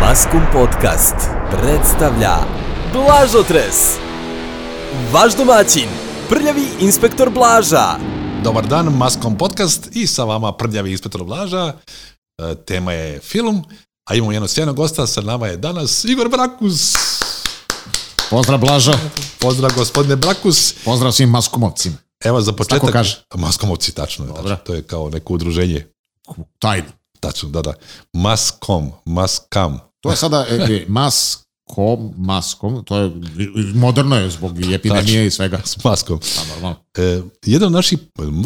Maskum Podcast predstavlja Blažotres Vaš domaćin, prljavi inspektor Blaža Dobar dan, Maskom podcast i sa vama prljavi inspektor Blaža. E, Tema je film, a imamo jednog sjajnog gosta, sa nama je danas Igor Brakus. Pozdrav Blažo, Pozdrav gospodine Brakus. pozdrav svim maskumovcima. Evo za početak... Tako kaže. Maskomovci, tačno je. Dobro. Tačno. To je kao neko udruženje. Tajno. Tačno, da, da. Maskom, maskam. To je sada e, e, maskom, maskom, to je, moderno je zbog i epidemije i svega. S maskom. Pa normalno. E, jedan od naših,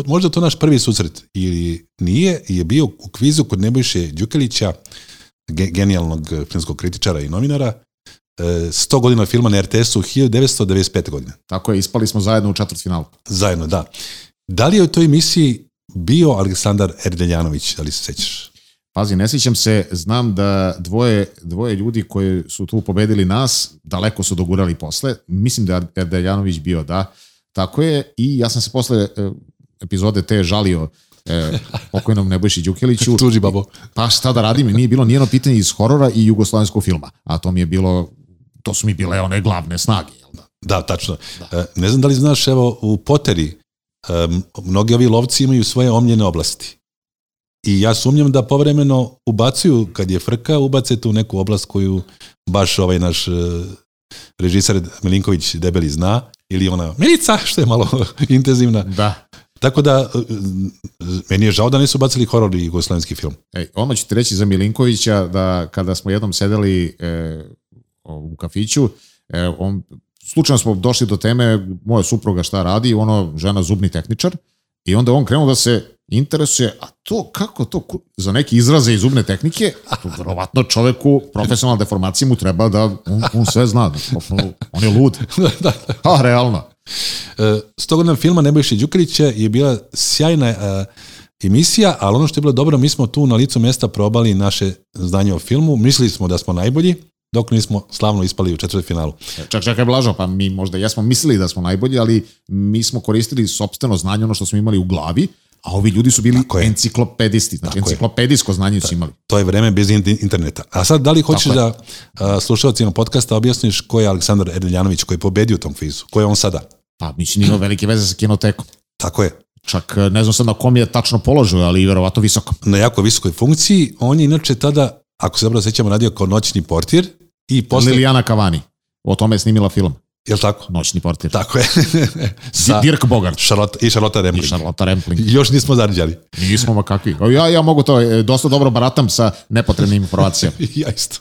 možda je to naš prvi susret, ili nije, je bio u kvizu kod Nebojše Đukelića, ge- genijalnog filmskog kritičara i novinara, e, 100 godina filma na RTS-u 1995. godine. Tako je, ispali smo zajedno u četvrtfinalu. Zajedno, da. Da li je u toj emisiji bio Aleksandar Erdeljanović, da li se sećaš? Pazi, ne sjećam se, znam da dvoje, dvoje ljudi koji su tu pobedili nas, daleko su dogurali posle. Mislim da je Erdeljanović bio, da. Tako je, i ja sam se posle e, epizode te žalio e, pokojnom Nebojši Đukeliću. Tuži babo. pa šta da radim, nije bilo nijedno pitanje iz horora i jugoslovenskog filma, a to mi je bilo, to su mi bile one glavne snage, jel da? Da, tačno. E, ne znam da li znaš, evo, u Poteri em, mnogi ovi lovci imaju svoje omljene oblasti. I ja sumnjam da povremeno ubacuju, kad je frka, ubace tu neku oblast koju baš ovaj naš e, režisar Milinković debeli zna, ili ona Milica, što je malo intenzivna. Da. Tako da, e, e, meni je žao da nisu bacili horor i jugoslovenski film. E, ono ću ti reći za Milinkovića, da kada smo jednom sedeli e, u kafiću, e, on, slučajno smo došli do teme, moja supruga šta radi, ono, žena zubni tehničar, i onda on krenuo da se interesuje, a to kako to, ku- za neke izraze iz zubne tehnike, a to verovatno čoveku, profesionalna deformacija mu treba da, on, on sve zna, on je lud, da, da. a realno. E, S tog nam filma Nebojše Đukrića je bila sjajna e, emisija, ali ono što je bilo dobro, mi smo tu na licu mjesta probali naše znanje o filmu, mislili smo da smo najbolji, dok nismo slavno ispali u četvrtfinalu. Čak, čak je blažo, pa mi možda jesmo mislili da smo najbolji, ali mi smo koristili sopstveno znanje, ono što smo imali u glavi, a ovi ljudi su bili Tako je. enciklopedisti, je. znači enciklopedijsko znanje su imali. To je vreme bez in- interneta. A sad, da li hoćeš Tako da a, slušalcima podcasta objasniš ko je Aleksandar Erdeljanović koji je pobedio u tom kvizu? Ko je on sada? Pa mislim, nije imao velike veze sa kinotekom. Tako je. Čak e, ne znam sad na kom je tačno položaj, ali verovatno visoko. Na jako visokoj funkciji. On je inače tada, ako se dobro sećamo, radio kao noćni portir i posle... Lilijana Cavani. O tome je snimila film. Jel tako? Noćni portir. Tako je. Sa Di- Dirk Bogart. Charlotte, I Charlotte I Rampling. Charlotta Rampling. Još nismo zarđali. Nismo ma kakvi. O, Ja, ja mogu to, e, dosta dobro baratam sa nepotrebnim informacijama. ja isto.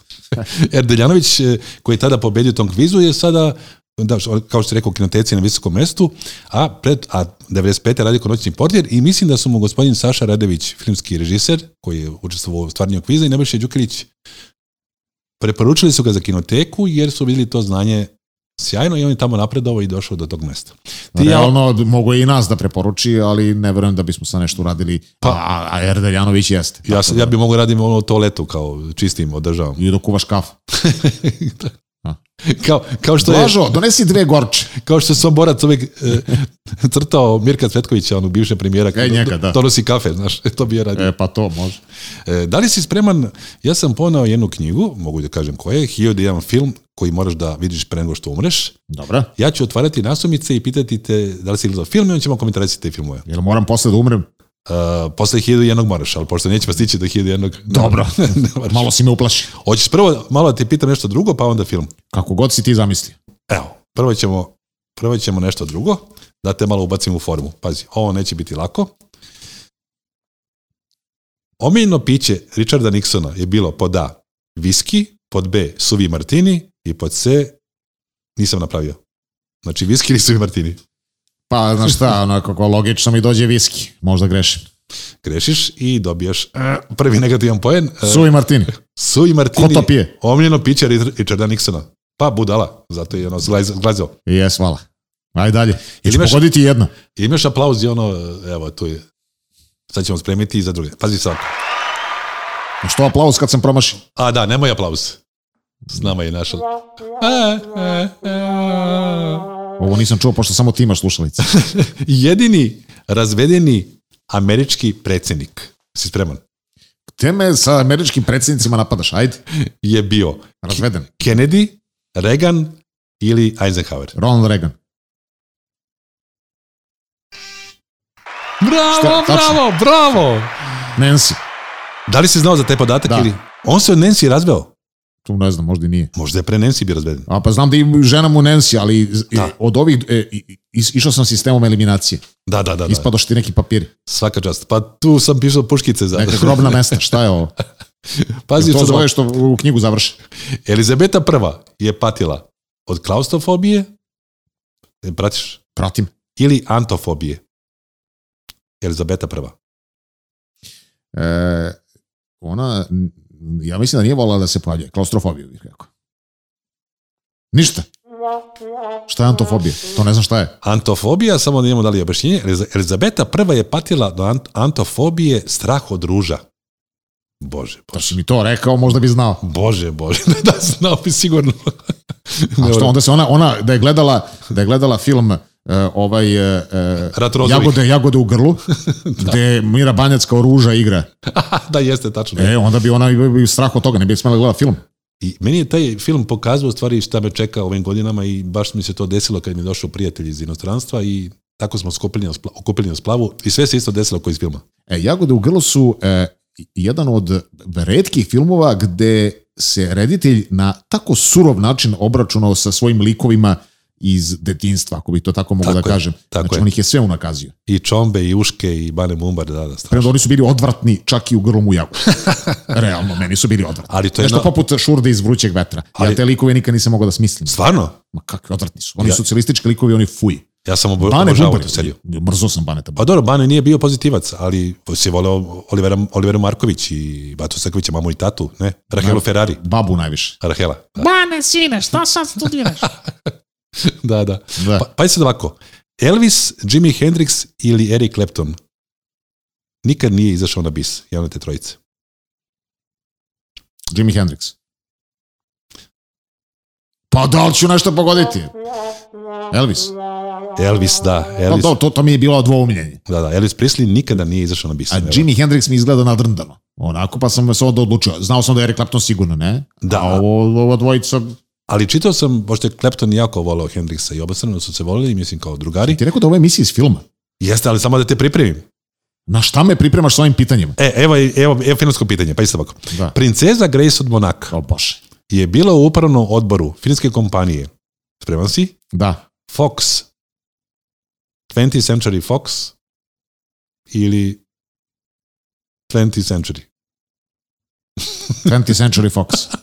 Erdeljanović, eh, koji je tada pobedio u tom kvizu, je sada, da, što- kao što je rekao, u kinoteci na visokom mestu, a, pred, a 95. radio kao noćni portir i mislim da su mu gospodin Saša Radević, filmski režiser, koji je učestvovao u stvaranju kviza i Nebojša Đukilić, preporučili su ga za kinoteku jer su vidjeli to znanje sjajno i on je tamo napredovao i došao do tog mesta. Ti i ja- Realno, mogo je i nas da preporuči, ali ne verujem da bismo sa nešto uradili, Pa- pa, a, a Erdeljanović jeste. ja, sam, ja bi mogao radim ono toaletu kao čistim, održavam. I dok kuvaš kafu. Kao, kao što je... Blažo, donesi dve gorče. Kao što sam borac uvijek e, crtao Mirka Cvetkovića, onu bivše premijera, E, njega, da. donosi kafe, znaš, to bi ja radio. E, pa to može. E, da li si spreman, ja sam ponao jednu knjigu, mogu da kažem koja je, hiljadu i jedan film koji moraš da vidiš pre nego što umreš. Dobro. Ja ću otvarati nasumice i pitati te da li si gledao film i on ćemo komentarisati te filmove. Jel moram posle da umrem? E, posle hiljadu i jednog moraš, ali pošto nećemo stići do hiljadu i jednog... Dobro. ne moraš. Malo si me uplaši. Hoćeš prvo malo da ti pitam nešto drugo, pa onda film. Kako god si ti zamislio. Evo, prvo ćemo, prvo ćemo nešto drugo, da te malo ubacim u formu. Pazi, ovo neće biti lako. Omiljeno piće Richarda Nixona je bilo pod A, viski, pod B, suvi martini i pod C, nisam napravio. Znači, viski ili suvi martini. Pa, znaš šta, ono, kako logično mi dođe viski. Možda grešim. Grešiš i dobijaš e, prvi negativan poen. E, Suvi Martini. suvi martini. Ko to pije? Omiljeno piće Ri- Richarda Nixona. Pa budala, zato je ono zglaz- zglazio. Jes, hvala. Ajde dalje. Ili Ili imaš- ću pogoditi jedno. I imaš aplauz i ono, evo, tu je. Sad ćemo spremiti i za druge. Pazi sad. Što aplauz kad sam promašio? A da, nemoj aplauz. S nama je naša. E, e, e. Ovo nisam čuo, pošto samo ti imaš slušalice. Jedini razvedeni američki predsjednik. Si spreman? te me sa američkim predsjednicima napadaš, ajde, je bio razveden. Kennedy, Reagan ili Eisenhower. Ronald Reagan. Bravo, Šta, tačno? bravo, bravo! Nancy. Da li si znao za taj podatak Da. ili? On se od Nancy razveo. Tu ne znam, možda i nije. Možda je pre Nancy bio razveden. A pa znam da i žena mu Nancy, ali z- Da. od ovih, e, i- is- išao sam sistemom eliminacije. Da, da, da. da. Ispadoš ti neki papiri, Svaka čast. Pa tu sam pišao puškice za... neka grobna mesta, šta je ovo? Pazi to što zove što u knjigu završi. Elizabeta prva je patila od klaustrofobije, e, pratiš, Pratim. ili antofobije. Elizabeta prva. E, ona, n- ja mislim da nije volala da se pojavljuje. Klaustrofobiju bih rekao. Ništa. Šta je antofobija? To ne znam šta je. Antofobija, samo da imamo dali objašnjenje, Eliza- Elizabeta prva je patila do ant- antofobije strah od ruža. Bože, Da bože. si mi to rekao, možda bi znao. Bože, bože, da znao bi sigurno. A što onda se ona, ona da je gledala, da je gledala film e, ovaj e, e, Rat rozovih. jagode, jagode u grlu, gde Mira Banjac kao ruža igra. da, jeste, tačno. E, onda bi ona bi bi strah od toga, ne bi smela gledati film. I meni je taj film pokazao u stvari šta me čeka ovim godinama i baš mi se to desilo kad mi je došao prijatelj iz inostranstva i tako smo skupili na, spla- okupili na splavu i sve se isto desilo koji iz filma. E, Jagode u grlu su e, jedan od redkih filmova gde se reditelj na tako surov način obračunao sa svojim likovima iz detinstva, ako bi to tako mogu Tako da je, kažem. tako znači, je. on ih je sve unakazio. I Čombe, i Uške, i Bane Mumbar, da, da, strašno. Premda oni su bili odvratni čak i u grlom u jagu. Realno, meni su bili odvratni. Ali to je Nešto na- poput šurde iz vrućeg vetra. Ali- Ja te likove nikad nisam mogao da smislim. Stvarno? Ma kakvi odvratni su. Oni Ja- socijalistički likovi, oni fuj. Ja sam obo- Bane obožavao Bubar. tu seriju. Mrzao sam Bane Bubar. Pa dobro, Bane nije bio pozitivac, ali si je voleo Olivera, Oliveru Marković i Batu Sakovića, mamu i tatu, ne? Rahelu Ferrari. Babu najviše. Rahela. da. Bane, sine, šta sad studiraš? Da, da. Da. Pa, pa sad ovako. Elvis, Jimi Hendrix ili Eric Clapton nikad nije izašao na bis, jedan od te trojice. Jimi Hendrix. Pa da li ću nešto pogoditi? Elvis. Elvis, da. Pa Elvis, da, to, to mi je bilo dvoumljenje. da, da, Elvis Presley nikada nije izašao na bis. A Evo. Jimi Hendrix mi izgleda nadrndano. Onako, pa sam se onda odlučio. Znao sam da je Eric Clapton sigurno, ne? Da. A ovo, ova dvojica... Ali čitao sam, pošto je Clapton jako volao Hendrixa i obostrano su se volili, mislim kao drugari. Ti je rekao da ovo je emisija iz filma. Jeste, ali samo da te pripremim. Na šta me pripremaš s ovim pitanjima? E, evo, evo, evo finsko pitanje, pa isto ovako. Da. Princeza Grace od Monaka O bože. je bila u upravnom odboru finske kompanije. Spreman si? Da. Fox, 20th Century Fox ili 20th Century. 20th Century Fox.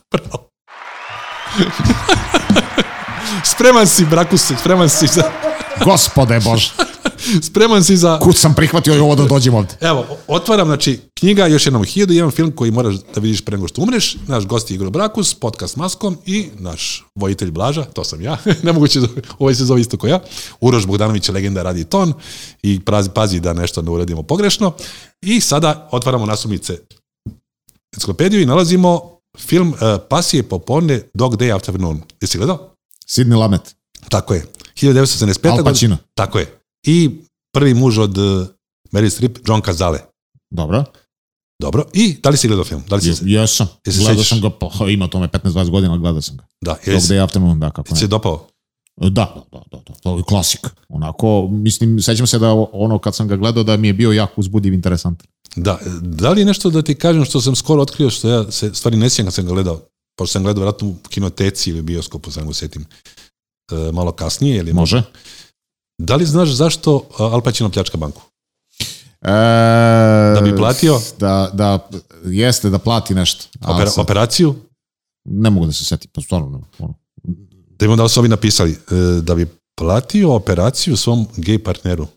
Spreman si, Brakuse, spreman si za... Gospode bože. Spreman si za... Kud sam prihvatio i ovo da dođem ovde. Evo, otvaram, znači, knjiga, još jednom, 1001 film koji moraš da vidiš pre nego što umreš, naš gost je Igor Brakus, podcast s Maskom i naš vojitelj Blaža, to sam ja, nemoguće, da- ovaj se zove isto ko ja, Uroš Bogdanović, je legenda radi ton i prazi, pazi da nešto ne uradimo pogrešno i sada otvaramo nasumice enciklopediju i nalazimo film uh, Pasije popodne Dog Day Afternoon. Jesi gledao? Sidney Lamet. Tako je. 1975. Al godine- Pacino. Tako je. I prvi muž od uh, Mary Strip, John Cazale. Dobro. Dobro. I da li si gledao film? Da li Pa si Je- se, Jesam. Jesi se Gledao sećaš? sam ga, pa, ima tome 15-20 godina, ali gledao sam ga. da, Dog jesi, Day Afternoon, da, kako ti se ne. dopao? Da, da, da, da, da, to je klasik. Onako, mislim, sećam se da ono kad sam ga gledao da mi je bio jako uzbudiv, interesantan. Da, da li je nešto da ti kažem što sam skoro otkrio, što ja se stvari ne sjećam kad sam ga gledao, pošto sam gledao vratno u kinoteci ili bioskopu, sam ga setim, e, malo kasnije. Ili Može? Da li znaš zašto e, Al Pacino pljačka banku? E, Da bi platio? Da, da, jeste, da plati nešto. Ali Opera, sad Operaciju? Ne mogu da se setim, pa stvarno. ne mogu, Ono. Da imam da li su ovi napisali, e, da bi platio operaciju svom gej partneru.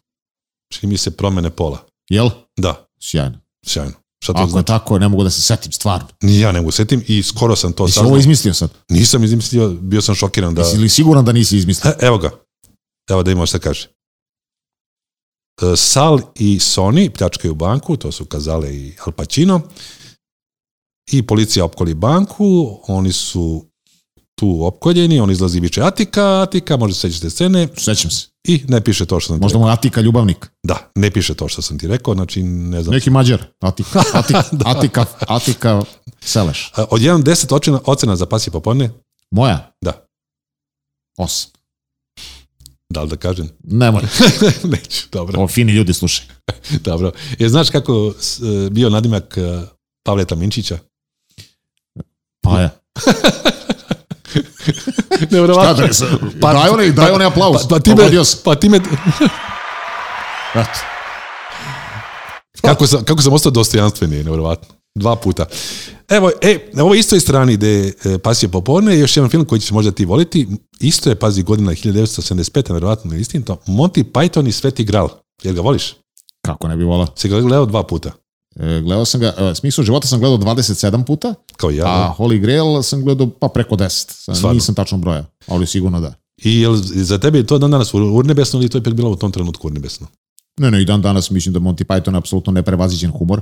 Čini mi se promene pola. Jel? Da, Sjajno. sjajno. Šta Pa to Ako je znači? tako, ne mogu da se setim, stvarno. Ni ja ne mogu setim i skoro sam to Jesi saznao. ovo izmislio sad? Nisam izmislio, bio sam šokiran Pa da... Jesi li siguran da nisi izmislio? E, Evo ga. Evo da imamo šta kaže. E, Sal i Sony pljačkaju banku, to su Kazale i Al Pacino. I policija opkoli banku, oni su tu opkoljeni, on izlazi i viče Atika, Atika, možda se sećate scene Sećam se. i ne piše to što sam ti Možda rekao. mu je Atika ljubavnik. Da, ne piše to što sam ti rekao, znači ne znam. Neki mađar. Atika, Atika, Atika, Atika Seleš. A, E, Od 1 do 10 ocena, ocena za pasje popodne, Moja? Da. Osam. da li da kažem? Nemoj. Neću, dobro. Ovo fini ljudi slušaj. Dobro. Je, znaš kako s- e, bio nadimak e, Pavleta Minčića? Pa ja. Nevrovatno. Kada, pa, daj onaj, daj onaj aplauz. Pa, pa, ti me, Pogodio sam. pa ti me, Eto. kako, sam, kako sam ostao dostojanstveni, nevrovatno. Dva puta. Evo, e, na ovoj istoj strani gde je e, Pasije popodne je još jedan film koji ćeš možda ti voliti. Isto je, pazi, godina 1975, nevrovatno ili istinito, Monty Python i Sveti Gral. Jel ga voliš? Kako ne bi volao. Se ga gledao dva puta. E, gledao sam ga, e, smisao života sam gledao 27 puta, Kao i ja. a Holy Grail sam gledao pa preko 10. Sam, Stvarno? nisam tačno broja, ali sigurno da. I jel, za tebe je to dan danas ur- urnebesno ili to je opet bilo u tom trenutku urnebesno? Ne, ne, i dan danas mislim da Monty Python je apsolutno neprevaziđen humor.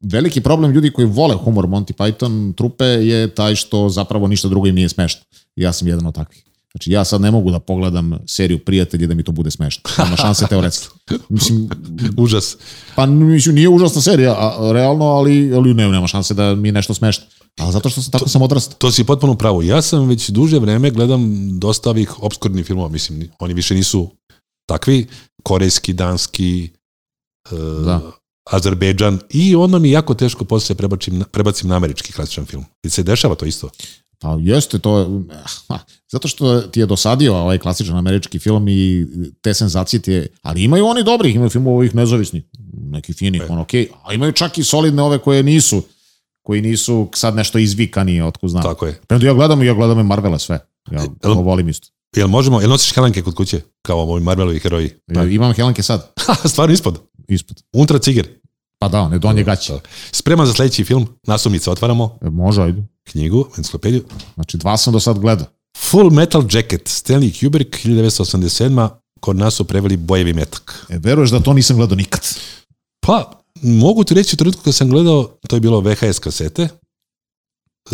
Veliki problem ljudi koji vole humor Monty Python trupe je taj što zapravo ništa drugo im nije smešno. Ja sam jedan od takvih. Znači, ja sad ne mogu da pogledam seriju Prijatelji da mi to bude smešno. Nema šanse teoretski. Mislim, Užas. Pa mislim, nije užasna serija, a, realno, ali, ali ne, nema šanse da mi je nešto smešno. Ali zato što sam tako sam odrastao. To si potpuno pravo. Ja sam već duže vreme gledam dosta ovih obskurnih filmova, mislim, ni- oni više nisu takvi, korejski, danski, e, Da. Azerbejdžan i onda mi je jako teško posle prebačim, na- prebacim na američki klasičan film. I se dešava to isto. Pa jeste to, ha, zato što ti je dosadio ovaj klasičan američki film i te senzacije ti je, ali imaju oni dobrih, imaju filmova ovih nezavisnih, neki fini, E. on okej, a imaju čak i solidne ove koje nisu, koji nisu sad nešto izvikani, otko znam. Tako je. Premda ja gledam, ja gledam i Marvela sve. Ja to Jel- volim isto. Jel možemo, jel nosiš helanke kod kuće? Kao ovi Marvelovi heroji. Ja, imam Helanke sad, Ha, stvarno ispod. ispod. Untra ciger. Pa da, one donje gaće. Spreman za sledeći film. Nasumice otvaramo. E, Može, ajde. Knjigu, enciklopediju. Znači, dva sam do sad gledao. Full Metal Jacket, Stanley Kubrick, 1987. Kod nas su preveli bojevi metak. E, veruješ da to nisam gledao nikad. Pa, mogu ti reći u trenutku kad sam gledao, to je bilo VHS kasete.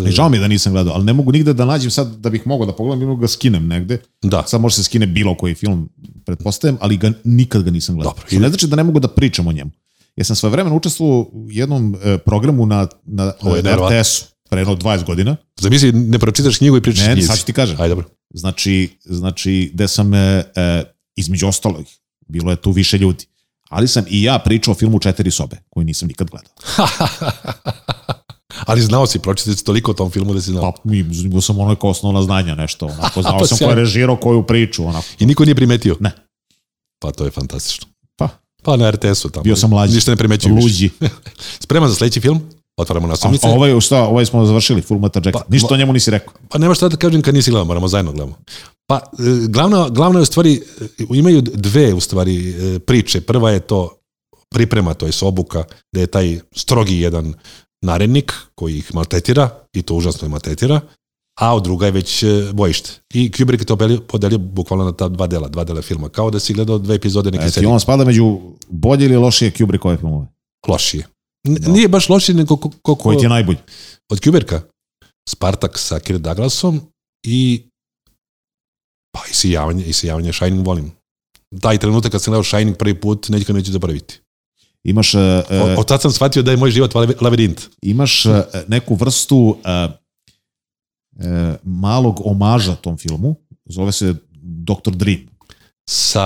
I žao mi je da nisam gledao, ali ne mogu nigde da nađem sad da bih mogao da pogledam, imam ga skinem negde. Da, Sad može se skine bilo koji film, pretpostavljam, ali ga, nikad ga nisam gledao. Dobro. Što ne znači da ne mogu da pričam o njemu. Ja sam svoje vremena učestvovao u jednom e, programu na, na Ovo je e, neverovatno. RTS-u, pre jedno 20 godina. zamisli, ne pročitaš knjigu i pričaš Ne, knjizi. sad ću ti kažem. Ajde, dobro. Znači, znači gde sam, e, e, između ostalog, bilo je tu više ljudi. Ali sam i ja pričao o filmu Četiri sobe, koji nisam nikad gledao. Ali znao si, pročitao si toliko o tom filmu da si znao. Pa, imao sam ono kao osnovna znanja, nešto. Onako, znao Pa sam ko sjajno. je režirao koju priču, onako. I niko nije primetio. Ne. Pa to je fantastično. Pa, Pa na RTS-u tamo. Bio sam mlađi. Ništa ne primećuju više. luđi. Spreman za sledeći film? Otvaramo A, nasumice. a ovaj, šta, ovaj smo završili, Full Metal Jacket. Pa, Ništa o njemu nisi rekao. Pa nema šta da kažem kad nisi gledao, moramo zajedno gledamo. Pa, e, glavna, glavna je u stvari, e, imaju dve u stvari e, priče. Prva je to priprema, to je obuka, da je taj strogi jedan narednik koji ih maltretira i to užasno ih maltretira, a od druga je već e, bojište. I Kubrick je to peli- podelio bukvalno na ta dva dela, dva dela filma, kao da si gledao dve epizode neke Znači, serije. on spada među bolje ili lošije Kubrickove filmove. Lošije. N- Nije baš lošije, nego ko- ko- ko- Koji ti je najbolji? od Kuberka, Spartak sa Kirk Douglasom i pa isijavanje, isijavanje Shining volim. Taj trenutak kad sam gledao Shining prvi put, neću neću zaboraviti. Imaš, e, e, O, od tad sam shvatio da je moj život lavi- labirint. imaš e, neku vrstu e, e, malog omaža tom filmu. Zove se Dr. Dream. Sa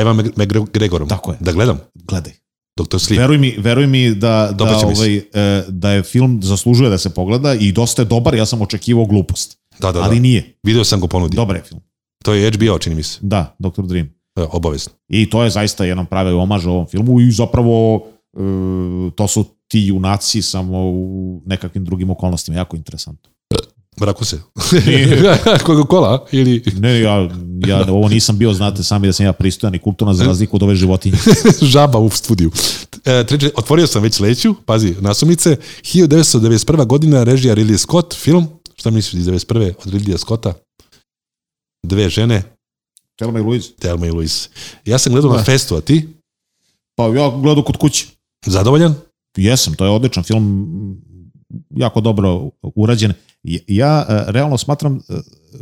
Ivan Mc- McGregorom. Tako je. Da gledam. Gledaj. Dr. Sleep. Veruj mi, veruj mi da, Dobar da, će mi se. ovaj, e, da je film zaslužuje da se pogleda i dosta je dobar, ja sam očekivao glupost. Da, da, da. Ali nije. Video sam ga u ponudi. Dobar je film. To je HBO, čini mi se. Da, Dr. Dream. E, Obavezno. I to je zaista jedan pravi omaž ovom filmu i zapravo e, to su ti junaci samo u nekakvim drugim okolnostima. Jako interesantno. Vraku se. Koga kola? Ili Ne, ja, ja ovo nisam bio, znate sami da sam ja pristojan i kulturan za razliku od ove životinje. žaba u studiju. E, treće, otvorio sam već sledeću, pazi, nasumice, 1991. godina, režija Ridley Scott, film, šta misliš iz 91. od Ridley Scotta? Dve žene, Telma i Luiz. Thelma i Louise. Ja sam gledao na Da. festu, a ti? Pa ja gledao kod kuće. Zadovoljan? Jesam, to je odličan film, jako dobro urađen. Ja e, realno smatram e,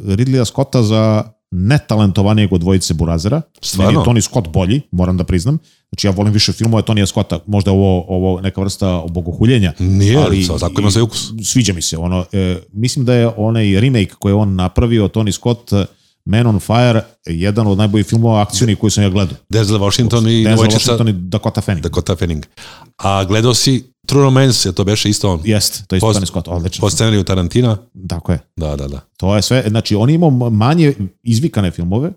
Ridleya Scotta za netalentovanijeg od dvojice Burazera. Stvarno? Meni je Tony Scott bolji, moram da priznam. Znači ja volim više filmova Tonija Scotta, možda je ovo, ovo neka vrsta bogohuljenja. Nije, ali, tako ima sve ukus. Sviđa mi se. Ono, e, mislim da je onaj remake koji je on napravio, Tony Scott, e, Man on Fire, jedan od najboljih filmova akcijnih koji sam ja gledao. Denzel Washington i Denzel Devojčica Washington i Dakota Fanning. Dakota Fanning. A gledao si True Romance, je to beše isto on? Jeste, to je isto Post- Tony Scott, odlično. Po scenariju Tarantina? Tako je. Da, da, da. To je sve, znači on je imao manje izvikane filmove,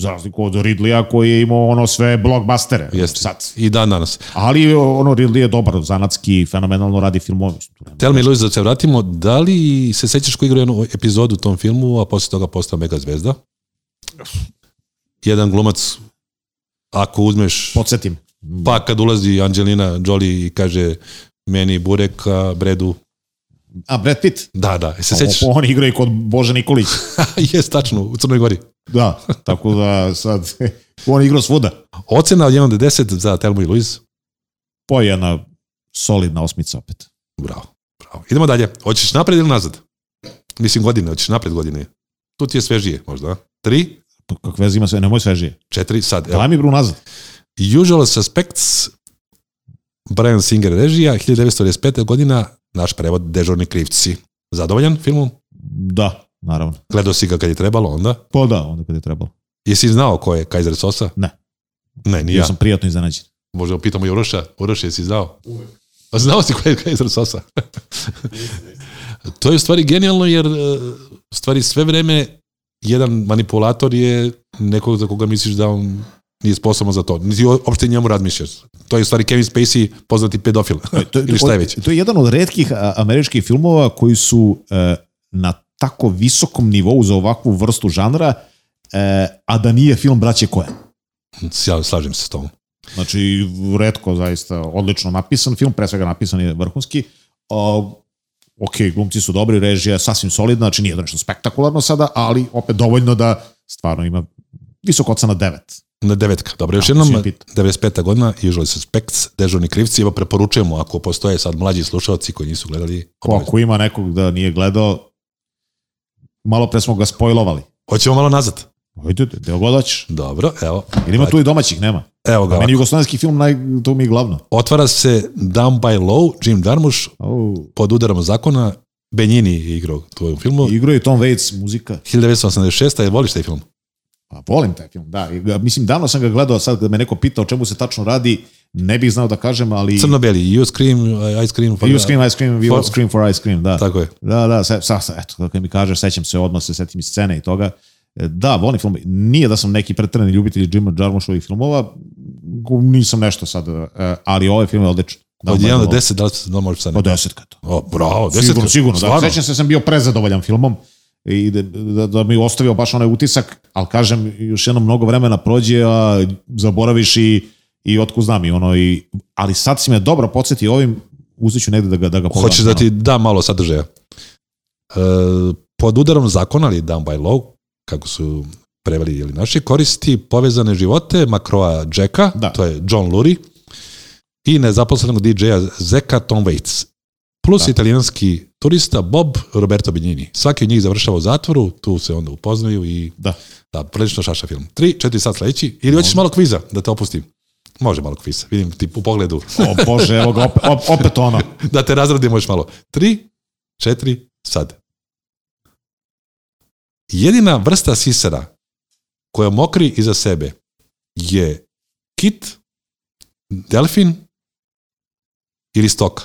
za razliku od Ridleya koji je imao ono sve blockbustere. Jeste. Sad. I dan danas. Ali ono Ridley je dobar, zanatski, fenomenalno radi filmove. Mislim, tu nema- Tell me, Luis, da se vratimo, da li se sećaš koji igrao jednu epizodu u tom filmu, a posle toga postao mega zvezda? Jedan glumac, ako uzmeš, Podsjetim. pa kad ulazi Angelina Jolie i kaže meni burek, a Bredu, A, Brad Pitt. da, da, se sećaš? Sećaš? On igra i kod Bože Nikolić. Jes, tačno, u Crnoj Gori. Da, tako da sad, on igra svuda. Ocena od 1 do 10 za Telmo i Luis. Po Pa jedna solidna osmica opet. Bravo, bravo. Idemo dalje. Hoćeš napred ili nazad? Mislim godine, hoćeš napred godine. Tu ti je svežije možda. a? Tri, Pa Kakve veze ima sve, nemoj svežije. četiri, sad. Evo. Daj mi bru nazad. Usual Suspects, Brian Singer režija, 1995. godina, naš prevod Dežurni krivci. Zadovoljan filmom? Da, naravno. Gledao si ga kad je trebalo onda? Pa da, onda kad je trebalo. Jesi znao ko je Kaiser Sosa? Ne. Ne, ni Ja, ja. sam prijatno iznenađen. Možda pitamo i Uroša. Uroš, jesi znao? A Znao si ko je Kaiser Sosa? to je u stvari genijalno jer e, u stvari sve vreme jedan manipulator je nekog za koga misliš da on nije sposoban za to. Niti uopšte njemu razmišljaš. To je u stvari Kevin Spacey, poznati pedofil. Ili šta je već. To je jedan od redkih a, američkih filmova koji su e, na tako visokom nivou za ovakvu vrstu žanra, e, a da nije film Braće Koja. Ja slažem se s tom. Znači, redko zaista, odlično napisan film, pre svega napisan je vrhunski. A, ok, glumci su dobri, režija je sasvim solidna, znači nije nešto spektakularno sada, ali opet dovoljno da stvarno ima visoko ocena 9. Na devetka. Dobro, još Tako jednom, si me pitao. 95. godina, Usual Suspects, Dežurni krivci, evo preporučujemo ako postoje sad mlađi slušalci koji nisu gledali. Ko, ako ima nekog da nije gledao, malo pre smo ga spojlovali. Hoćemo malo nazad. Ajde, deo god hoćeš. Dobro, evo. Ili ima tu i domaćih, nema. Evo ga. Meni jugoslovenski film, naj, to mi je glavno. Otvara se Down by Low, Jim Darmush, Au, pod udarom zakona, Benjini je igrao tu u filmu. igro je Tom Waits, muzika. 1986. Je, voliš taj film? Pa volim taj film, da. I ga- Mislim, davno sam ga gledao, sad kad me neko pita o čemu se tačno radi, ne bih znao da kažem, ali... Crno-beli, You Scream, I- Ice Cream. You scream, ice cream, we For- all scream for ice cream, da. Tako je. Da, da, sa, sa, sa, eto, kako mi kažeš, sećam se odmah, se setim i scene i toga. E, Da, volim film. Nije da sam neki pretrani ljubitelj Jima Jarmushovih filmova, gu- nisam nešto sad, e, ali ovaj film je odličan. Da, Od moj 1 do Bog. 10, da li se da možeš sad? Pa desetka to. O, bravo, desetka. Sigurno, sigurno. Da, Stvarno? sećam se da sam bio prezadovoljan filmom i da, da, da mi je ostavio baš onaj utisak, ali kažem, još jedno mnogo vremena prođe, a zaboraviš i, i otku znam i ono, i, ali sad si me dobro podsjetio ovim, uzet ću negde da ga, da ga pogledam. Hoćeš da ti da malo sadržaja. E, pod udarom zakona, ali down by law, kako su preveli ili naši, koristi povezane živote Makroa Jacka, Da. to je John Lurie, i nezaposlenog DJ-a Zeka Tom Waits. Plus Da. italijanski turista Bob Roberto Benigni. Svaki od njih završava u zatvoru, tu se onda upoznaju i Da. da prilično šaša film. Tri, četiri sat sledeći. Ili hoćeš malo kviza da te opustim? Može malo kviza, vidim ti u pogledu. ono. O Bože, evo ga, opet, op- opet ono. da te razradimo još malo. Tri, četiri, sad. Jedina vrsta sisara koja mokri iza sebe je kit, delfin ili stoka.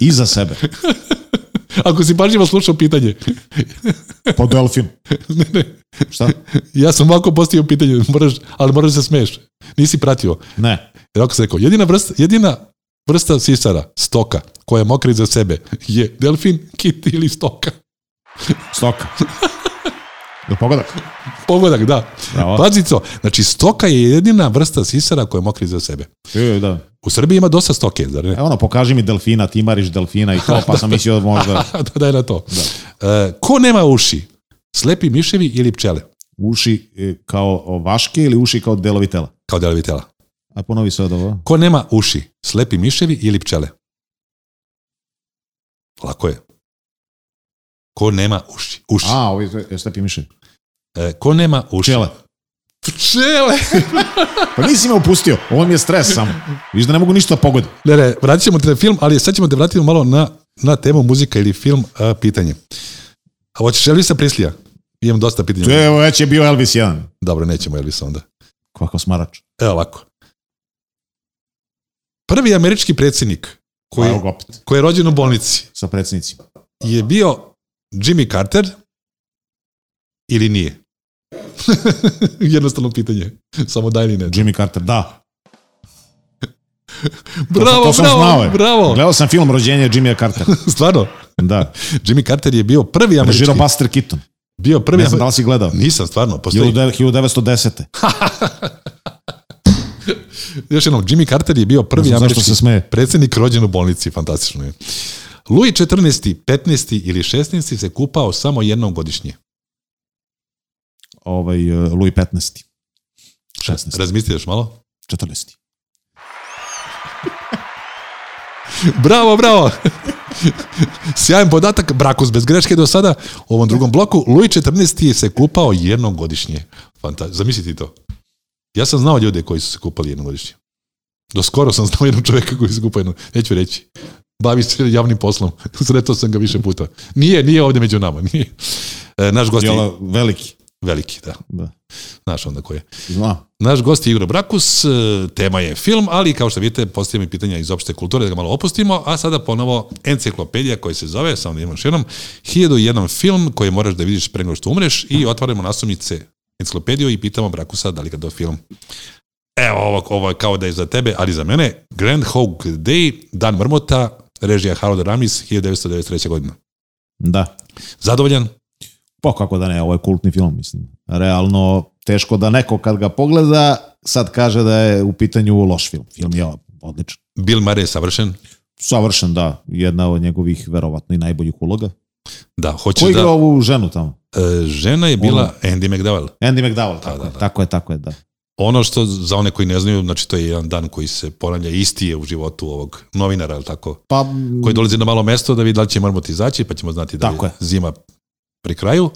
Iza sebe. Ako si pažljivo slušao pitanje, Po delfin. ne, ne, Šta? ja sam ovako postavio pitanje, moraš, ali moraš da se smeješ. Nisi pratio. Ne. Jer ako sam rekao, jedina vrsta, jedina vrsta sisara, stoka, koja mokri iza sebe je delfin, kit ili stoka. Stoka. Da pogodak. Pogodak, da. Bravo. Pazi to. Znači, stoka je jedina vrsta sisara koja mokri za sebe. E, da. U Srbiji ima dosta stoke, zar ne? E, ono, pokaži mi delfina, ti mariš delfina i to, pa sam mislio možda da, daj na to. E, ko nema uši? Slepi miševi ili pčele? uši e, kao vaške ili uši kao delovi tela. Kao delovi tela. A ponovi sad ovo. Ko nema uši? Slepi miševi ili pčele? Lako je. Ko nema uši? Uši. A, ovi, to- šta pimiše? E, ko nema uši? Pčele. Pčele! Pa nisi me opustio, ovo mi je stres samo. Viš da ne mogu ništa pogodim. Ne, ne, vratit ćemo te na film, ali sad ćemo te vratiti malo na, na temu muzika ili film a, pitanje. A hoćeš Elvisa Prislija? Imam dosta pitanja. To je, evo, već je bio Elvis 1. Dobro, nećemo Elvisa onda. Kako smarač. Evo ovako. Prvi američki predsjednik koji, Evo ga opet, koji je rođen u bolnici sa predsjednicima. je bio Jimmy Carter ili nije? Jednostavno pitanje. Samo daj ili ne. Jimmy Carter, da. Bravo, to sam bravo, znao, je. bravo. Gledao sam film Rođenje Jimmy Carter. Stvarno, Da. Jimmy Carter je bio prvi američki. Režirao Buster Keaton. Bio prvi Ne znam da li si gledao. Nisam, stvarno. Postoji, 1910. još jednom, Jimmy Carter je bio Ne prvi znam zašto američki se smeje. predsjednik rođen u bolnici, fantastično je. Louis XIV, 15. ili 16. se kupao samo jednom godišnje. Ovaj, eh, Louis 15. 16. Razmislite još malo. 40. Bravo, bravo! Sjajan podatak, brakus bez greške do sada. U ovom drugom bloku, Louis XIV se kupao jednom godišnje. Fanta- Zamisliti to. Ja sam znao ljude koji su se kupali jednom godišnje. Do skoro sam znao jednog čovjeka koji se kupao jednom. Neću reći. Bavi se javnim poslom. Sretao sam ga više puta. Nije, nije ovdje među nama. Nije. E, Naš gost je Jela, veliki. veliki, da. Da. Znaš onda ko je. Znam. Naš gost je Igor Brakus, e, tema je film, ali kao što vidite, postavljamo i pitanja iz opšte kulture da ga malo opustimo, a sada ponovo enciklopedija koja se zove, samo da imam još jednom, 1001 film koji moraš da vidiš pre nego što umreš i otvaramo nasumnice enciklopediju i pitamo Brakusa da li ga do film. Evo, ovo, ovo je kao da je za tebe, ali za mene, Grand Hawk Day, Dan Mrmota, režija Harold Ramis, 1993. godina. Da. Zadovoljan? Pa kako da ne, ovo je kultni film, mislim. Realno, teško da neko kad ga pogleda, sad kaže da je u pitanju loš film. Film je odličan. Bill Murray je savršen? Savršen, da. Jedna od njegovih, verovatno, i najboljih uloga. Da, hoćeš Ko igra da... ovu ženu tamo? E, žena je bila Andy McDowell. Andy McDowell, tako, da, je, da. tako je, tako je, da. Ono što za one koji ne znaju, znači to je jedan dan koji se ponavlja, isti je u životu ovog novinara, ali tako, Pa, koji dolazi na malo mesto da vidi da li će mrmot izaći, pa ćemo znati da li Tako je je. zima pri kraju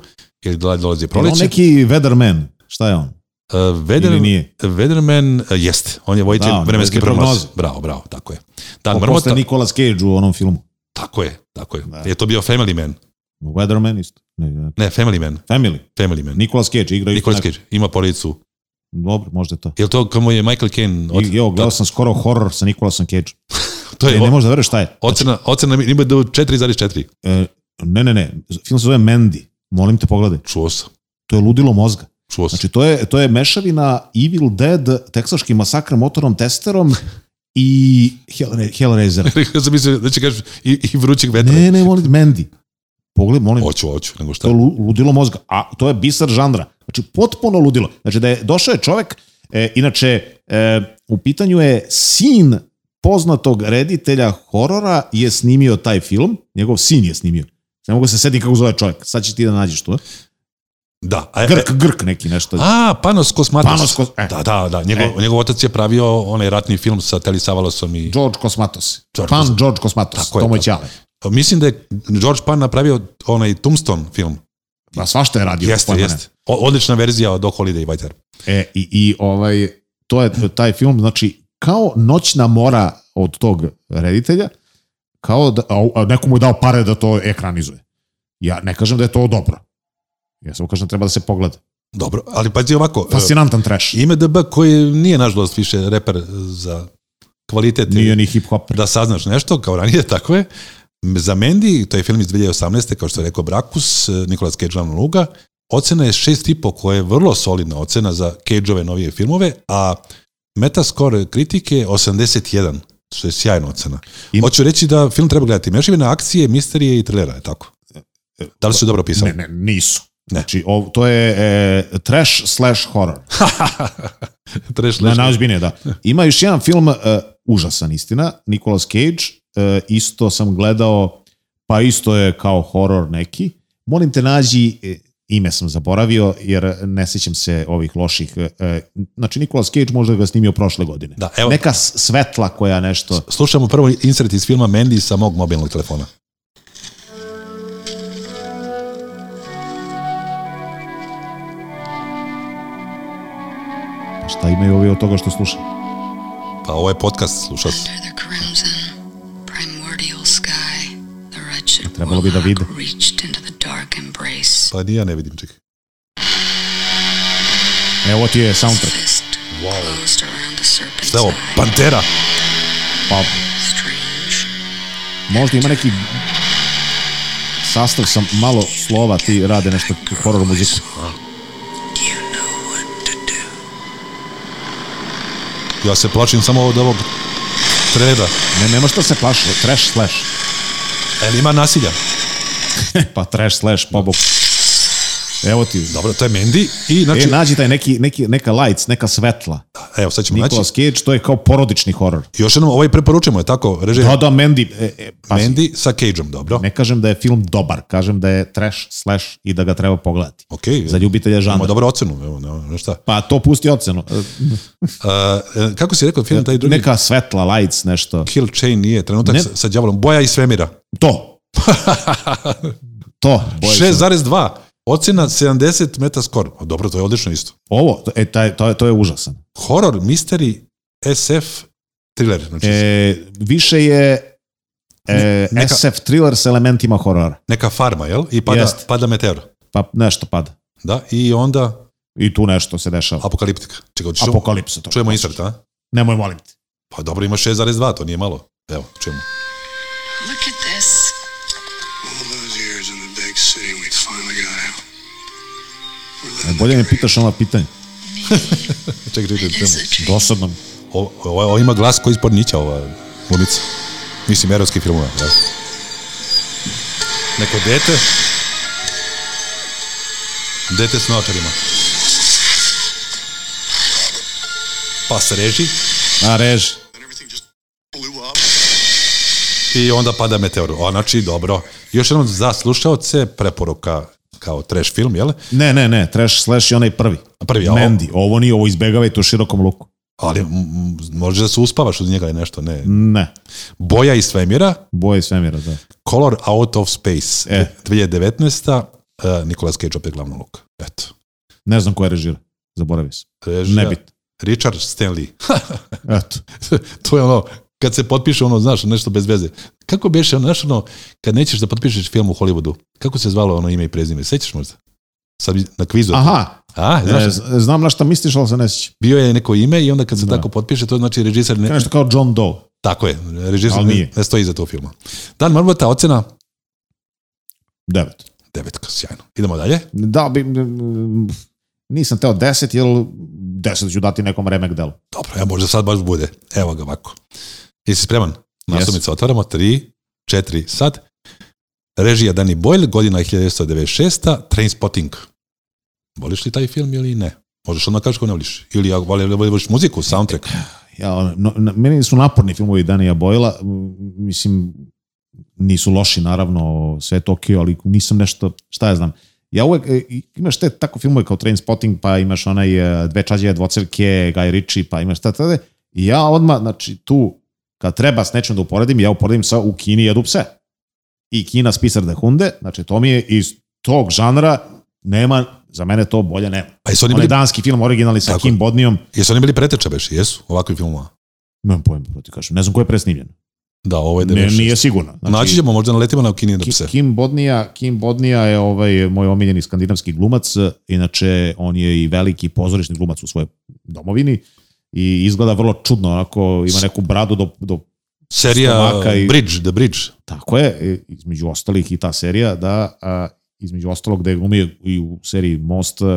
ili da li dolazi je on proleće. neki weatherman, šta je on? Uh, Ili Veder, nije? Vederman uh, jeste, on je vojitelj Da, on je vremenske voditelj prognoze. prognoze. Bravo, bravo, tako je. Dan Pa mrmota, posle Nicolas Cage u onom filmu. tako je, tako je. Da. Je to bio Family Man? Weatherman isto. Ne, ne. Ne, Family Man, Family. Family Man. Nicolas Cage igra. isto Nikolas neko- Cage, ima porodicu. Dobro, možda je to. Je li to kamo je Michael Caine? I, evo, gledao sam skoro horror sa Nikolasom Cage. to je Ne, ne možeš da veruješ šta je. ocena, ocena mi- ima do 4,4. E, ne, ne, ne. Film se zove Mandy. Molim te pogledaj. Čuo sam, To je ludilo mozga. čuo sam. Znači, to je, to je mešavina Evil Dead, teksaški masakr motornom testerom i Hellra- Hellraiser. ja sam mislio da će kažeš i, i vrućeg vetra. Ne, ne, molim, Mandy. Pogledaj, molim, Hoću, hoću, nego šta. To je lu- ludilo mozga, a to je bisar žandra. Znači, potpuno ludilo. Znači, da je došao je čovek, e, inače, e, u pitanju je sin poznatog reditelja horora je snimio taj film, njegov sin je snimio. Ne mogu se setim kako zove čovjek, sad će ti da nađeš to. Da, a, e, Grk, grk neki nešto. a Panos Kosmatos. Panos Kos- e. Da, da, da. Njegov, njegov otac je pravio onaj ratni film sa Teli Savalosom i... George Kosmatos. George Pan Kosmatos. George Kosmatos, Tako tako je, to moj tako. ćale. Mislim da je George Pan napravio onaj Tombstone film. Pa svašta je radio. Jeste, pojma jeste. O, odlična verzija od O Holiday Vajtar. E, i, i ovaj, to je taj film, znači, kao noćna mora od tog reditelja, kao da, a, a neko mu je dao pare da to ekranizuje. Ja ne kažem da je to dobro. Ja samo kažem da treba da se pogleda. Dobro, ali pazi ovako. e, Fascinantan trash. Ime DB koji nije nažalost više reper za kvalitet. Nije ni hip hop. da saznaš nešto, kao ranije, tako je. Za Mendi, to je film iz 2018. kao što je rekao Brakus, e, Nikolas Cage glavna luga, ocena je 6,5 koja je vrlo solidna ocena za Cage-ove novije filmove, a metascore kritike je 81, što je sjajna ocena. Im- Hoću reći da film treba gledati mešavine akcije, misterije i trilera, je tako? Da li su dobro pisali? Ne, ne, nisu. Ne. Znači, ov, to je e, trash slash horror. Trash Na, leška. najozbiljnije, da. Ima još jedan film, e, užasan istina, Nicolas Cage, e, isto sam gledao, pa isto je kao horor neki. Molim te nađi, e, ime sam zaboravio, jer ne sjećam se ovih loših. e, e, znači, Nicolas Cage možda ga je snimio prošle godine. Da, evo. Neka s- svetla koja nešto... Slušamo prvo insert iz filma Mendi sa mog mobilnog telefona. Šta imaju ovi od toga što slušaju? Pa ovo je podcast, slušao sam. Under the crimson, primordial sky, the wretched Trebalo bi da vide. warlock reached into the dark embrace. Pa ni ja ne vidim, čekaj. E, ovo ti je soundtrack. Fist closed around the serpent's Šta je ovo? eye. Pantera! Pa, Strange. možda ima neki sastav sa malo slova, ti rade nešto horror muziku. You know what to do. Ja se plačim samo od ovog treda. Ne, nema šta se plaši, trash slash. El E, ima nasilja. Pa trash slash, pobog. Evo ti, Dobro, to je Mendy i znači... E, Znači, nađi taj neki, neki, neka lights, neka svetla. evo, sad ćemo naći. Nicolas Cage, to je kao porodični horor. Još jednom, ovaj preporučujemo, je tako? Režim Da, da, Mandy, e, e, pazi, Mendy sa Cageom, dobro. ne kažem da je film dobar, kažem da je trash, slash i da ga treba pogledati. Ok. Za ljubitelja Imamo žanra. dobru ocenu, evo, ne, ne šta. Pa to pusti ocenu. E, Uh, kako si rekao, film taj drugi? Neka svetla, lights, nešto. Kill Chain nije, trenutak Ne. sa, sa djavolom, boja iz svemira. To. to. boje se. 6,2, ocena 70 metaskor. O, dobro, to je odlično isto. Ovo, to- e, taj, to, je, to je užasan. Horor, mystery, SF, thriller. Znači, E, više je e, neka- SF thriller s elementima horora. neka farma, jel? I pada, Jest. pada meteor. Pa nešto pada. Da, i onda I tu nešto se dešava. apokaliptika. Čekaj, hoćeš- Apokalipsa to. čujemo insert, a? Nemoj molim te. Pa dobro, ima 6,2, to nije malo. Evo, čujemo. Look at this. All those years in the big city, we finally got out. E, We're living Bolje me pitaš ona pitanja. Čekaj, čekaj, čujemo. It's a dream. Dosadno. O, o, ovo ima glas koji ispod Nića, ova glumica. Mislim, erotski filmova, jel? Neko dete. Dete s naočarima. Pa se reži A, reži. and everything just blew up. i onda pada meteor. O, znači, dobro. Još jednom za slušaoce preporuka kao trash film, jel? Ne, ne, ne, Trash Slash je onaj prvi. Prvi, a ovo- Mandy, ovo nije, ovo izbegavaj to širokom luku. Ali m, m, možeš da se uspavaš uz njega ili nešto, ne. Ne, Boja iz svemira, boje svemira, da. Color Out of Space, E. 2019. Uh, Nikolas Cage opet glavna luka. Eto. Ne znam ko je režira, zaboravio sam. Režija, Nebit. Richard Stanley. Eto. to je ono, kad se potpiše ono, znaš, nešto bez veze. Kako biše ono, znaš ono, kad nećeš da potpišeš film u Hollywoodu, kako se zvalo ono ime i prezime, sećaš možda? Sad bi- na kvizu. Aha, A, znaš, e, z- znam na šta misliš, ali se ne sjećam. bio je neko ime i onda kad se tako potpiše, to znači režiser ne, Nešto kao John Doe. tako je, režiser Ali ne, nije. ne stoji iza tog filma. Dan Marbota, ocena Devet. devetka, sjajno. Idemo dalje. Da bi... mm, Nisam teo deset, jer deset ću dati nekom remek delu. Dobro, ja možda sad baš bude. Evo ga ovako. Jesi spreman? Naslovnica otvaramo. 3, 4, sad. Režija Danny Boyle, godina je 1996. Trainspotting. Voliš li taj film ili ne? Možeš odmah kažeš ko ne voliš. Ili ako voli- voliš muziku, soundtrack. Ja, ono, no, na- meni su naporni filmovi Danija Bojla, m, mislim, nisu loši, naravno, sve je to okej, ali nisam nešto, šta ja znam. Ja uvek, e, imaš te tako filmove kao Trainspotting, pa imaš onaj e, Dve čađe, dvocelke, Guy Ritchie, pa imaš šta tada. I ja odmah, znači, tu, kad treba s nečim da uporedim, ja uporedim sa U Kini jedu pse. I Kina spisar de hunde, znači, to mi je iz tog žanra, nema, za mene to bolje nema. Pa jesu oni Onaj bili, danski film originalni sa Tako. Kim Bodnijom, jesu oni bili preteča beš? Jesu, ovakvi filmova. Nemam pojma, bro, ti kažem. Ne znam ko je presnimljen. Da, ovo je Ne, 96. nije sigurno. Znači, Naći ćemo, možda naletimo na Kini da Ki- pse. Kim Bodnija, Kim Bodnija je ovaj moj omiljeni skandinavski glumac, inače on je i veliki pozorišni glumac u svojoj domovini i izgleda vrlo čudno, onako ima neku bradu do, do Serija stomaka i- Bridge, The Bridge. tako je, e, između ostalih i ta serija, da a, između ostalog da je glumio i u seriji Most, e,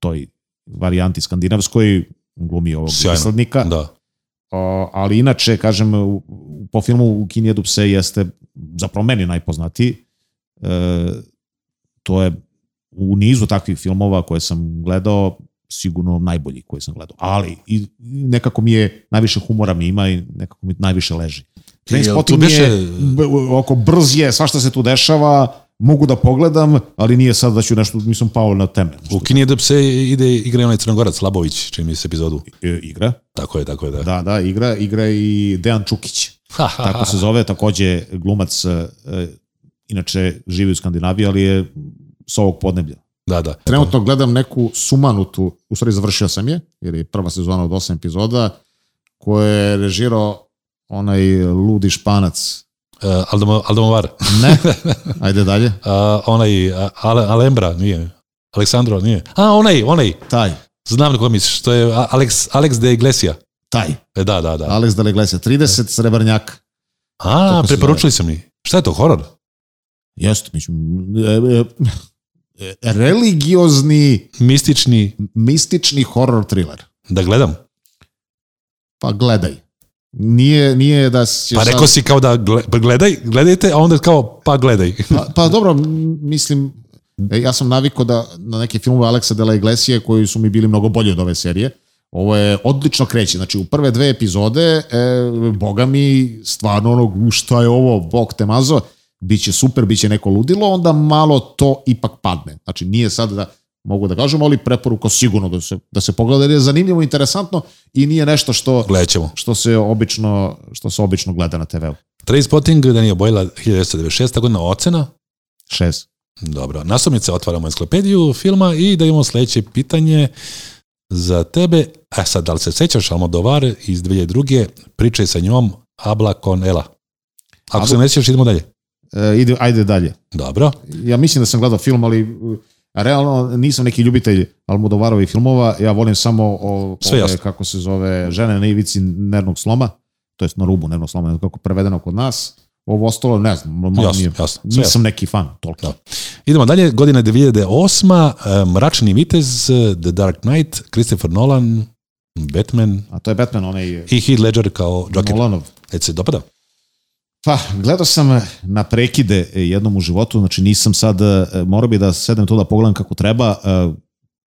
toj varijanti skandinavskoj, glumi ovog Sjajno. naslednika. Da. O, ali inače, kažem, u- u- po filmu U Kini jedu pse jeste zapravo meni najpoznatiji. E, to je u nizu takvih filmova koje sam gledao sigurno najbolji koji sam gledao. Ali i i nekako mi je najviše humora mi ima i nekako mi najviše leži. Trainspotting mi beše- je b- oko brz je, svašta se tu dešava, mogu da pogledam, ali nije sad da ću nešto, nisam pao na temelj. U Kini da pse ide igra onaj Crnogorac, Labović, čini mi se epizodu. E, igra. Tako je, tako je, da. Da, da, igra, igra i Dejan Čukić. Ha, ha, ha. tako se zove, takođe glumac, e, e, inače živi u Skandinaviji, ali je s ovog podneblja. Da, da. Trenutno gledam neku sumanutu, u stvari završio sam je, jer je prva sezona od 8 epizoda, koju je režirao onaj ludi španac. Uh, Aldom, Aldomovar. Ne, ajde dalje. A, onaj, a, Ale, Alembra, nije. Aleksandro, nije. A, onaj, onaj. Taj, Znam na koga misliš, to je A- Alex, Alex de Iglesia. taj, E, da, da, da. Alex Daleglesija, 30 srebrnjaka. A, Tako se preporučili sam mi. Šta je to, horor? Jeste, mislim, e, e, e, religiozni, Mistični, mistični horror thriller. da gledam. Pa gledaj. Nije, nije da si... Pa rekao si kao da gle- pa gledaj, gledajte, a onda kao pa gledaj. Pa, pa dobro, m, mislim, e, ja sam navikao da na neke filmove Aleksa de la Iglesije koji su mi bili mnogo bolji od ove serije. Ovo je odlično kreće. Znači, u prve dve epizode, e, boga mi, stvarno onog, u šta je ovo, bog te mazo, bit će super, bit će neko ludilo, onda malo to ipak padne. Znači, nije sad da mogu da kažem, ali preporuka sigurno da se, da se pogleda, jer je zanimljivo, interesantno i nije nešto što, Gledat ćemo. što, se, obično, što se obično gleda na TV-u. Trainspotting, Danija Bojla, 1996. godina, ocena. Šest. Dobro, nasumnice otvaramo enciklopediju filma i da imamo sljedeće pitanje za tebe. A sad, da li se sećaš Almodovar iz 2002. Pričaj sa njom Abla con Ela. Ako se ne sjećaš, idemo dalje. E, ide, ajde dalje. Dobro. ja mislim da sam gledao film, ali uh, realno nisam neki ljubitelj Almodovarovi filmova, ja volim samo o, Sve ove, jasno. kako se zove, žene na ivici nervnog sloma, to jest na rubu nervnog sloma, ne znam kako je prevedeno kod nas. Ovo ostalo, ne znam, malo Jasno, mi je- jasno, sve jasno. nisam neki fan toliko. Da. Idemo dalje, godina 2008. e, Mračni vitez, e, The Dark Knight, Christopher Nolan, Batman A to je Batman, onaj i Heath Ledger kao Joker. Nolanov. Jel ti se dopada? Pa, gledao sam na prekide eh, jednom u životu, znači nisam sad, e, morao bi da sedem to da pogledam kako treba, E,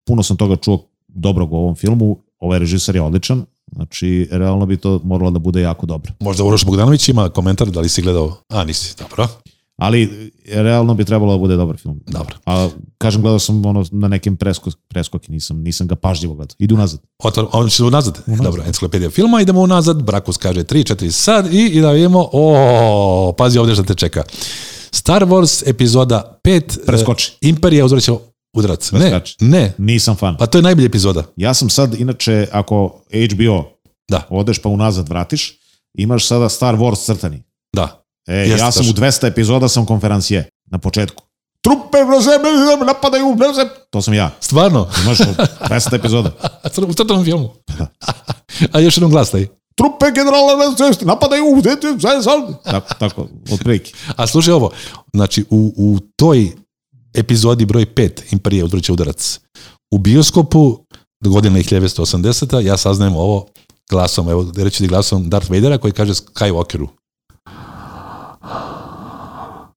puno sam toga čuo dobrog u ovom filmu, ovaj režiser je odličan, znači realno bi to moralo da bude jako dobro. Možda Uroš Bogdanović ima komentar da li si gledao. A, nisi, dobro. Ali e, realno bi trebalo da bude dobar film. Dobro. A kažem, gledao sam ono na nekim presko, preskoki, nisam, nisam ga pažljivo gledao. Idu nazad. Otvor, on će unazad. E, Dobro, enciklopedija filma, idemo unazad, Brakus kaže 3, 4 sad i, i da vidimo, o, pazi ovdje šta te čeka. Star Wars epizoda 5. Preskoči. e, Imperija uzvrće udarac. Ne, Preskači. ne, Nisam fan. pa to je najbolja epizoda. Ja sam sad, inače, ako HBO Da. odeš pa unazad vratiš, imaš sada Star Wars crtani. Da. E, Jeste, ja sam u tačno. 200 epizoda sam konferencije na početku. Trupe vrze, napadaju vrze. To sam ja. Stvarno, Imaš 200 epizoda. u crtanom filmu. A još jednom glasaj. Trupe generala vrze, napadaju vrze. Tako, tako, otprilike. A slušaj ovo, znači u, u toj epizodi broj 5 Imperije uzvrće udarac. U bioskopu godine 1980 ja saznajem ovo glasom, evo reći ti glasom Darth Vadera koji kaže Skywalkeru.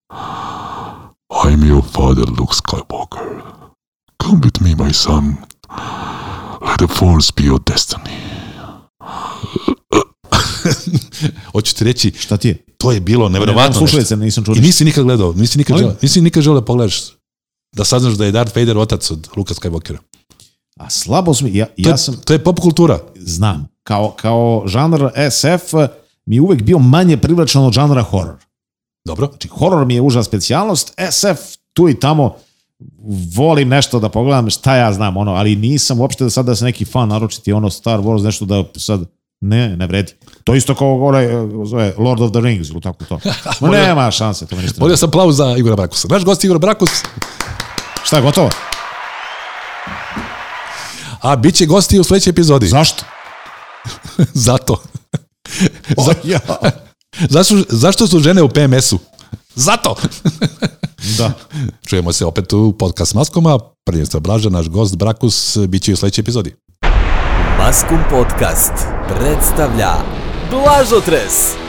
I'm your father, Luke Skywalker. Come with me, my son. Let the Force be your destiny. Hoću ti reći, Šta ti je? to je bilo Nemam nevjerovatno. nešto. slušalice, nisam čuo I ništa. nisi nikad gledao, nisi nikad, Molim? želeo, nisi nikad želeo da pogledaš da saznaš da je Darth Vader otac od Luka Skywalkera. A slabo sam, ja, To, je- ja sam, to je pop kultura. znam, kao, kao žanr SF eh, mi je uvek bio manje privlačan od žanra horor. Dobro. Znači, horor mi je uža specijalnost, SF tu i tamo volim nešto da pogledam, šta ja znam, ono, ali nisam uopšte da sad da se neki fan naročiti ono Star Wars, nešto da sad ne, ne vredi. To isto kao onaj, eh, zove Lord of the Rings ili tako to. Ma nema šanse, to mi ništa. ne Molio sam plavu za Igora Brakusa. Naš gost je Igor Brakus, vredi. Šta, gotovo? a bit će gosti u sljedećoj epizodi. Zašto? Zato. O, ja. Zašto, zašto su žene u PMS-u? Zato! Da. Čujemo se opet u podcast Maskoma. Prvenstvo Blaža, naš gost Brakus, bit će i u sledećoj epizodi. Maskum Podcast predstavlja Blažotres.